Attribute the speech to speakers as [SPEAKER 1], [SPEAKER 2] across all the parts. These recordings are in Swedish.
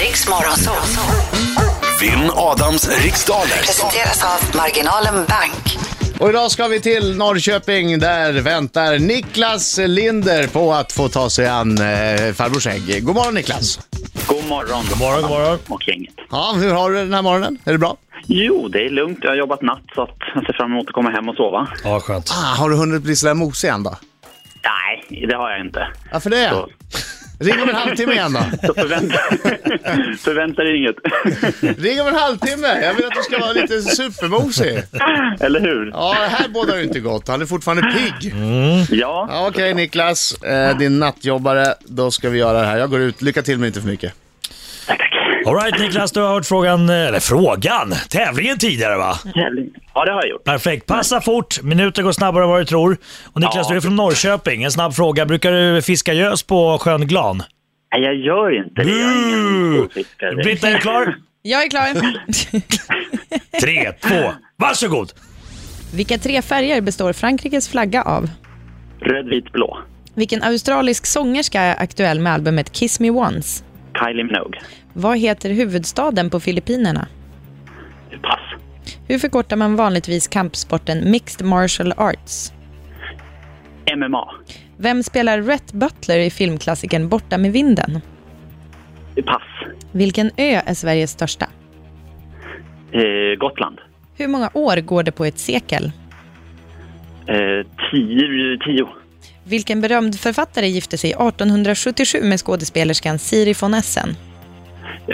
[SPEAKER 1] Riks Morgonzoo.
[SPEAKER 2] Vinn Adams riksdaler.
[SPEAKER 1] Presenteras av Marginalen Bank.
[SPEAKER 3] Och idag ska vi till Norrköping. Där väntar Niklas Linder på att få ta sig an eh, farbrors ägg. God morgon Niklas!
[SPEAKER 4] God morgon. God
[SPEAKER 5] morgon, god morgon.
[SPEAKER 4] Och gänget.
[SPEAKER 3] Ja, hur har du den här morgonen? Är det bra?
[SPEAKER 4] Jo, det är lugnt. Jag har jobbat natt så att jag ser fram emot att komma hem och sova.
[SPEAKER 5] Ja, skönt.
[SPEAKER 3] Ah, har du hunnit bli sådär mosig än då?
[SPEAKER 4] Nej, det har jag inte.
[SPEAKER 3] Varför det?
[SPEAKER 4] Så,
[SPEAKER 3] Ring om en halvtimme igen då.
[SPEAKER 4] så förvänta, förvänta dig inget.
[SPEAKER 3] Ring om en halvtimme! Jag vill att du ska vara lite supermosig.
[SPEAKER 4] Eller hur?
[SPEAKER 3] Ja, det här bådar ju inte gott. Han är fortfarande pigg.
[SPEAKER 4] Ja.
[SPEAKER 3] Ja, Okej Niklas, eh, din nattjobbare. Då ska vi göra det här. Jag går ut. Lycka till men inte för mycket.
[SPEAKER 4] Tack, tack.
[SPEAKER 5] Alright Niklas, du har hört frågan, eh, eller frågan, tävlingen tidigare va?
[SPEAKER 4] Tävling. Ja, det har jag gjort.
[SPEAKER 5] Perfekt. Passa fort, minuter går snabbare än vad du tror. Och Niklas,
[SPEAKER 4] Ja.
[SPEAKER 5] du är från Norrköping. En snabb fråga. Brukar du fiska gös på sjön Glan?
[SPEAKER 4] Nej, jag gör inte det. Jag är ingen
[SPEAKER 5] Buh!
[SPEAKER 4] storfiskare.
[SPEAKER 5] Britta, är du klar?
[SPEAKER 6] Jag är klar.
[SPEAKER 5] Tre, två, varsågod!
[SPEAKER 6] Vilka tre färger består Frankrikes flagga av?
[SPEAKER 4] Röd, vit, blå.
[SPEAKER 6] Vilken australisk sångerska är aktuell med albumet Kiss Me Once?
[SPEAKER 4] Kylie Minogue.
[SPEAKER 6] Vad heter huvudstaden på Filippinerna?
[SPEAKER 4] Pass.
[SPEAKER 6] Hur förkortar man vanligtvis kampsporten Mixed Martial Arts?
[SPEAKER 4] MMA.
[SPEAKER 6] Vem spelar Rhett Butler i filmklassikern Borta med vinden?
[SPEAKER 4] Pass.
[SPEAKER 6] Vilken ö är Sveriges största?
[SPEAKER 4] Eh, Gotland.
[SPEAKER 6] Hur många år går det på ett sekel?
[SPEAKER 4] Eh, tio. tio.
[SPEAKER 6] Vilken berömd författare gifte sig 1877 med skådespelerskan Siri von Essen?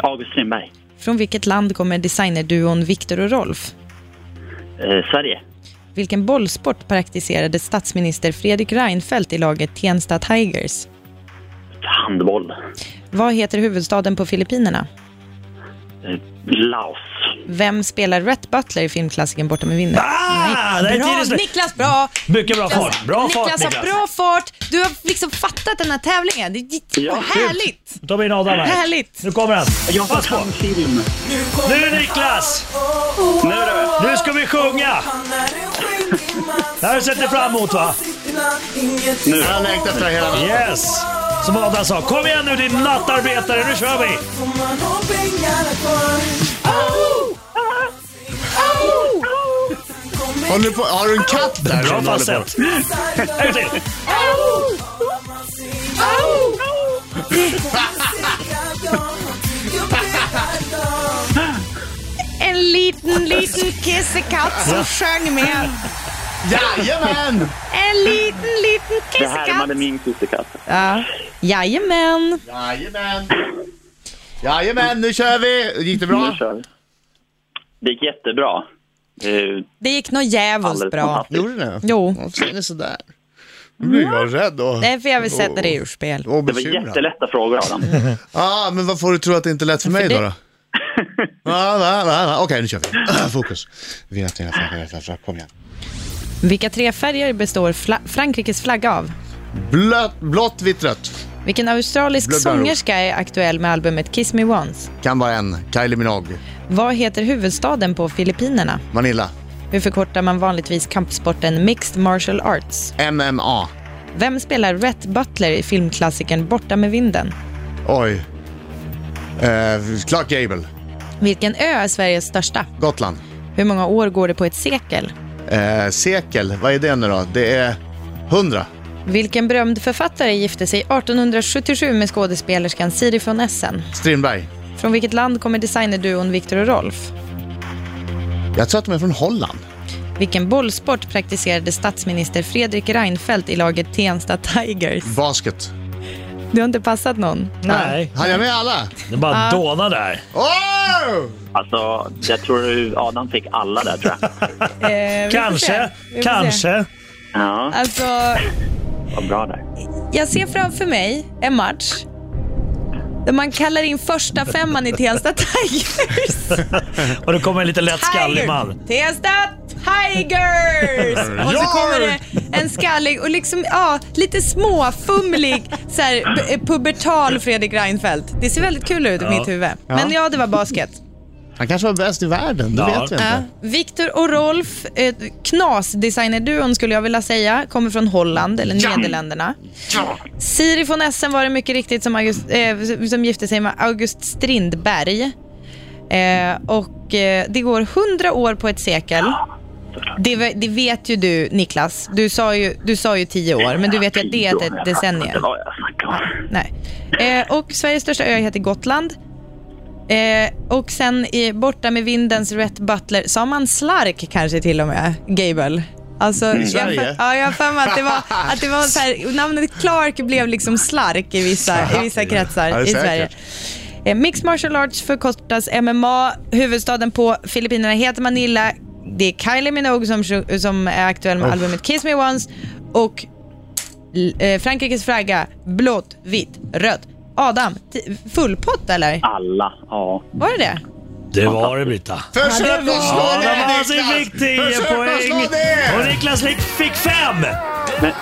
[SPEAKER 4] August Strindberg.
[SPEAKER 6] Från vilket land kommer designerduon Viktor och Rolf?
[SPEAKER 4] Eh, Sverige.
[SPEAKER 6] Vilken bollsport praktiserade statsminister Fredrik Reinfeldt i laget Tensta Tigers?
[SPEAKER 4] Handboll.
[SPEAKER 6] Vad heter huvudstaden på Filippinerna?
[SPEAKER 4] Eh, Laos.
[SPEAKER 6] Vem spelar Rhett Butler i filmklassikern Borta med vinden?
[SPEAKER 5] Ah, det är
[SPEAKER 6] Bra,
[SPEAKER 5] tiden slut.
[SPEAKER 6] Niklas, bra!
[SPEAKER 5] Mycket bra fart. Bra
[SPEAKER 6] Niklas,
[SPEAKER 5] fart
[SPEAKER 6] har
[SPEAKER 5] Niklas.
[SPEAKER 6] bra fart. Du har liksom fattat den här tävlingen. Det är
[SPEAKER 4] Ja,
[SPEAKER 6] härligt!
[SPEAKER 5] Då tar vi in Adam här.
[SPEAKER 6] Härligt.
[SPEAKER 5] Nu kommer han.
[SPEAKER 4] Jag
[SPEAKER 5] Pass på.
[SPEAKER 4] kan film.
[SPEAKER 5] Nu Niklas!
[SPEAKER 4] Nu du.
[SPEAKER 5] Nu ska vi sjunga! Det här sätter fram emot va?
[SPEAKER 4] Nu.
[SPEAKER 3] Jag har längtat efter det hela natten.
[SPEAKER 5] Yes! Som Adam sa, kom igen nu din nattarbetare, nu kör vi!
[SPEAKER 3] Håller du på, har du en katt där?
[SPEAKER 5] Bra
[SPEAKER 3] som du håller på-
[SPEAKER 5] falsett. En till.
[SPEAKER 6] En liten, liten kissekatt som sjöng med.
[SPEAKER 3] Jajamän!
[SPEAKER 6] En liten, liten
[SPEAKER 4] Det härmade min kissekatt.
[SPEAKER 6] Ja. Jajamän.
[SPEAKER 3] Jajamän! Jajamän, nu kör vi! Gick det bra?
[SPEAKER 4] Nu kör vi. Det gick jättebra. Eh,
[SPEAKER 6] Det gick nog djävulskt
[SPEAKER 4] Alldeles
[SPEAKER 6] bra.
[SPEAKER 4] fantastiskt.
[SPEAKER 3] Gjorde det?
[SPEAKER 6] Jo.
[SPEAKER 3] Varför är ni sådär? Nu blir jag rädd och...
[SPEAKER 6] Det är för jag vill sätta dig ur spel.
[SPEAKER 3] och
[SPEAKER 4] Det var
[SPEAKER 3] bekymrad.
[SPEAKER 4] jättelätta frågor, Adam.
[SPEAKER 3] Ja, ah, men vad får du tro att det inte är lätt för mig då?
[SPEAKER 6] det-
[SPEAKER 3] då? Ah, va, va, va. Okej, nu kör vi. Ah, Fokus. Vi har till att framföra, framföra. Kom igen.
[SPEAKER 6] Vilka tre färger består fla- Frankrikes flagga av?
[SPEAKER 3] Blött, blått, vitt, rött.
[SPEAKER 6] Vilken australisk
[SPEAKER 3] Blubbar.
[SPEAKER 6] sångerska är aktuell med albumet Kiss Me Once?
[SPEAKER 3] Kan vara en. Kylie Minogue.
[SPEAKER 6] Vad heter huvudstaden på Filippinerna?
[SPEAKER 3] Manila.
[SPEAKER 6] Hur förkortar man vanligtvis kampsporten Mixed Martial Arts?
[SPEAKER 3] MMA.
[SPEAKER 6] Vem spelar Rhett Butler i filmklassikern Borta med vinden?
[SPEAKER 3] Oj. Eh, Clark Gable.
[SPEAKER 6] Vilken ö är Sveriges största?
[SPEAKER 3] Gotland.
[SPEAKER 6] Hur många år går det på ett sekel?
[SPEAKER 3] Eh, sekel. Vad är det nu då? Det är 100.
[SPEAKER 6] Vilken berömd författare gifte sig 1877 med skådespelerskan Siri von Essen?
[SPEAKER 3] Strindberg.
[SPEAKER 6] Från vilket land kommer designerduon Viktor och Rolf?
[SPEAKER 3] Jag tror att de är från Holland.
[SPEAKER 6] Vilken bollsport praktiserade statsminister Fredrik Reinfeldt i laget Tensta Tigers?
[SPEAKER 3] Basket.
[SPEAKER 6] Du har inte passat någon?
[SPEAKER 5] Nej,
[SPEAKER 3] Hann jag med alla?
[SPEAKER 5] det bara dånar där.
[SPEAKER 3] Oh!
[SPEAKER 4] Alltså, jag tror Adam fick alla där, tror jag.
[SPEAKER 6] Eh, vi får se.
[SPEAKER 5] Kanske,
[SPEAKER 6] Vi får se.
[SPEAKER 5] kanske.
[SPEAKER 4] Ja,
[SPEAKER 6] Alltså,
[SPEAKER 4] vad bra där.
[SPEAKER 6] jag ser framför mig en match där man kallar in första femman i Tensta Tigers.
[SPEAKER 5] Och det kommer en lite lätt skallig
[SPEAKER 6] Tiger!
[SPEAKER 5] man.
[SPEAKER 6] Tensta Tigers! Och så kommer det en skallig och liksom, ja, lite småfumlig, så här, eh, b- pubertal Fredrik Reinfeldt. Det ser väldigt kul ut i mitt huvud. Men ja, det var basket.
[SPEAKER 3] Han kanske var bäst i världen, det
[SPEAKER 5] Ja.
[SPEAKER 3] vet vi
[SPEAKER 6] Ja.
[SPEAKER 3] inte.
[SPEAKER 6] Viktor Eh, och Rolf, eh, knasdesignerduon skulle jag vilja säga, kommer från Holland eller Nederländerna. Siri von Essen var det mycket riktigt som, August, eh, som gifte sig med August Strindberg. Eh, och eh, det går 100 år på ett sekel. Det, ve- det vet ju du Niklas. Du sa ju, du sa ju 10 år, men du vet ju att det är ett- ett decennium.
[SPEAKER 4] Ja, jag snackar om.
[SPEAKER 6] Nej. Eh, och Sveriges största ö heter Gotland. Eh, och sen i Borta med vindens Rhett Butler, sa man slark kanske till och med? Gable. Alltså, jag har
[SPEAKER 3] Mm. Sverige?
[SPEAKER 6] för- ja, jag har för mig att det var, att det var så här, namnet Clark blev liksom slark i vissa, i vissa kretsar
[SPEAKER 3] Ja, det är
[SPEAKER 6] i
[SPEAKER 3] säkert.
[SPEAKER 6] Sverige. Eh, Mixed Martial Arts förkortas MMA. Huvudstaden på Filippinerna heter Manila. Det är Kylie Minogue som, sju- som är aktuell med albumet Kiss Me Once. Och L- eh, Frankrikes flagga, blått, vitt, rött. Adam, ti- full pott eller?
[SPEAKER 4] Alla, ja.
[SPEAKER 6] Var det det?
[SPEAKER 5] Det var det Britta.
[SPEAKER 3] Försök
[SPEAKER 6] Ja, det
[SPEAKER 3] att slå
[SPEAKER 5] Ja,
[SPEAKER 3] det,
[SPEAKER 5] Adam
[SPEAKER 3] Niklas!
[SPEAKER 5] fick 10
[SPEAKER 3] Försök att slå
[SPEAKER 5] poäng och
[SPEAKER 3] det!
[SPEAKER 5] Niklas Lick fick 5.
[SPEAKER 4] Men,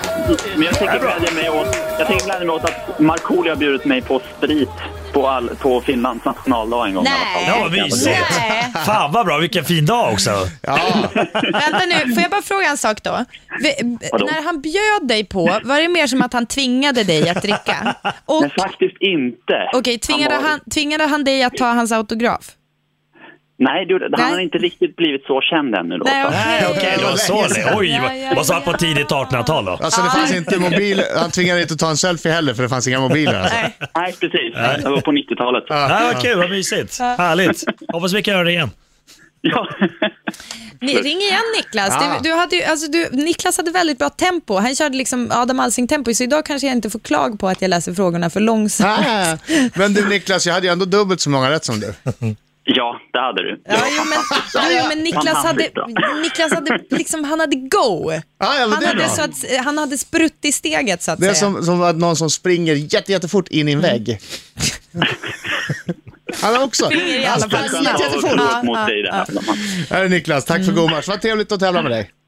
[SPEAKER 4] men jag tänker glädja mig åt, jag tänker glädja mig åt att Markoolio har bjudit mig på sprit på, all, på Finlands nationaldag en gång. i alla fall.
[SPEAKER 5] Ja, vad mysigt.
[SPEAKER 6] Nej.
[SPEAKER 5] Fan vad bra, vilken fin dag också.
[SPEAKER 3] Ja,
[SPEAKER 6] Vänta nu, får jag bara fråga en sak då? Vi, b-
[SPEAKER 4] Vadå?
[SPEAKER 6] när han bjöd dig på, var det mer som att han tvingade dig att dricka? Och,
[SPEAKER 4] Men faktiskt inte.
[SPEAKER 6] Okej, tvingade,
[SPEAKER 4] var-
[SPEAKER 6] han, tvingade han dig att ta hans autograf?
[SPEAKER 4] Nej, det, gjorde- han
[SPEAKER 6] Nej.
[SPEAKER 4] har inte riktigt blivit så känd ännu då.
[SPEAKER 6] Nej,
[SPEAKER 4] så att-
[SPEAKER 5] Nej, okej, det var så länge. Oj,
[SPEAKER 6] Ja, ja,
[SPEAKER 5] vad sa
[SPEAKER 6] ja.
[SPEAKER 5] på tidigt 1800-tal då?
[SPEAKER 3] alltså det fanns inte mobil. Han tvingade inte att ta en selfie heller för det fanns inga mobiler. Alltså.
[SPEAKER 6] Nej.
[SPEAKER 4] Nej, precis. Det var på 90-talet.
[SPEAKER 5] Ja, vad kul, vad mysigt. Härligt. Hoppas vi kan göra det igen.
[SPEAKER 4] Ja.
[SPEAKER 6] Ni, ring igen Niklas.
[SPEAKER 3] Ja.
[SPEAKER 6] Du, du hade ju, alltså du, Niklas hade väldigt bra tempo. Han körde liksom Adam Alsing-tempo, så idag kanske jag inte får klag på att jag läser frågorna för långsamt.
[SPEAKER 3] Ah, Men du Niklas, jag hade ju ändå dubbelt så många rätt som du.
[SPEAKER 4] ja, det hade du.
[SPEAKER 6] Ja, jo, men, jo, jo, men Niklas hade,
[SPEAKER 4] Fantastiskt bra.
[SPEAKER 6] Niklas hade, liksom, han hade go.
[SPEAKER 3] Ja, ja, men
[SPEAKER 6] Han
[SPEAKER 3] det är bra.
[SPEAKER 6] hade, så att, han hade sprutt i steget så att
[SPEAKER 3] Det är
[SPEAKER 6] säga.
[SPEAKER 3] som, som att någon som springer jätte, jättefort in i en vägg. Han också.
[SPEAKER 6] Mm. Springer i
[SPEAKER 3] Han
[SPEAKER 6] alla fall
[SPEAKER 3] sprang
[SPEAKER 6] snabbt.
[SPEAKER 3] jättefort.
[SPEAKER 4] mot dig där.
[SPEAKER 3] Här är Niklas, tack för god match. Vad trevligt att tävla med dig.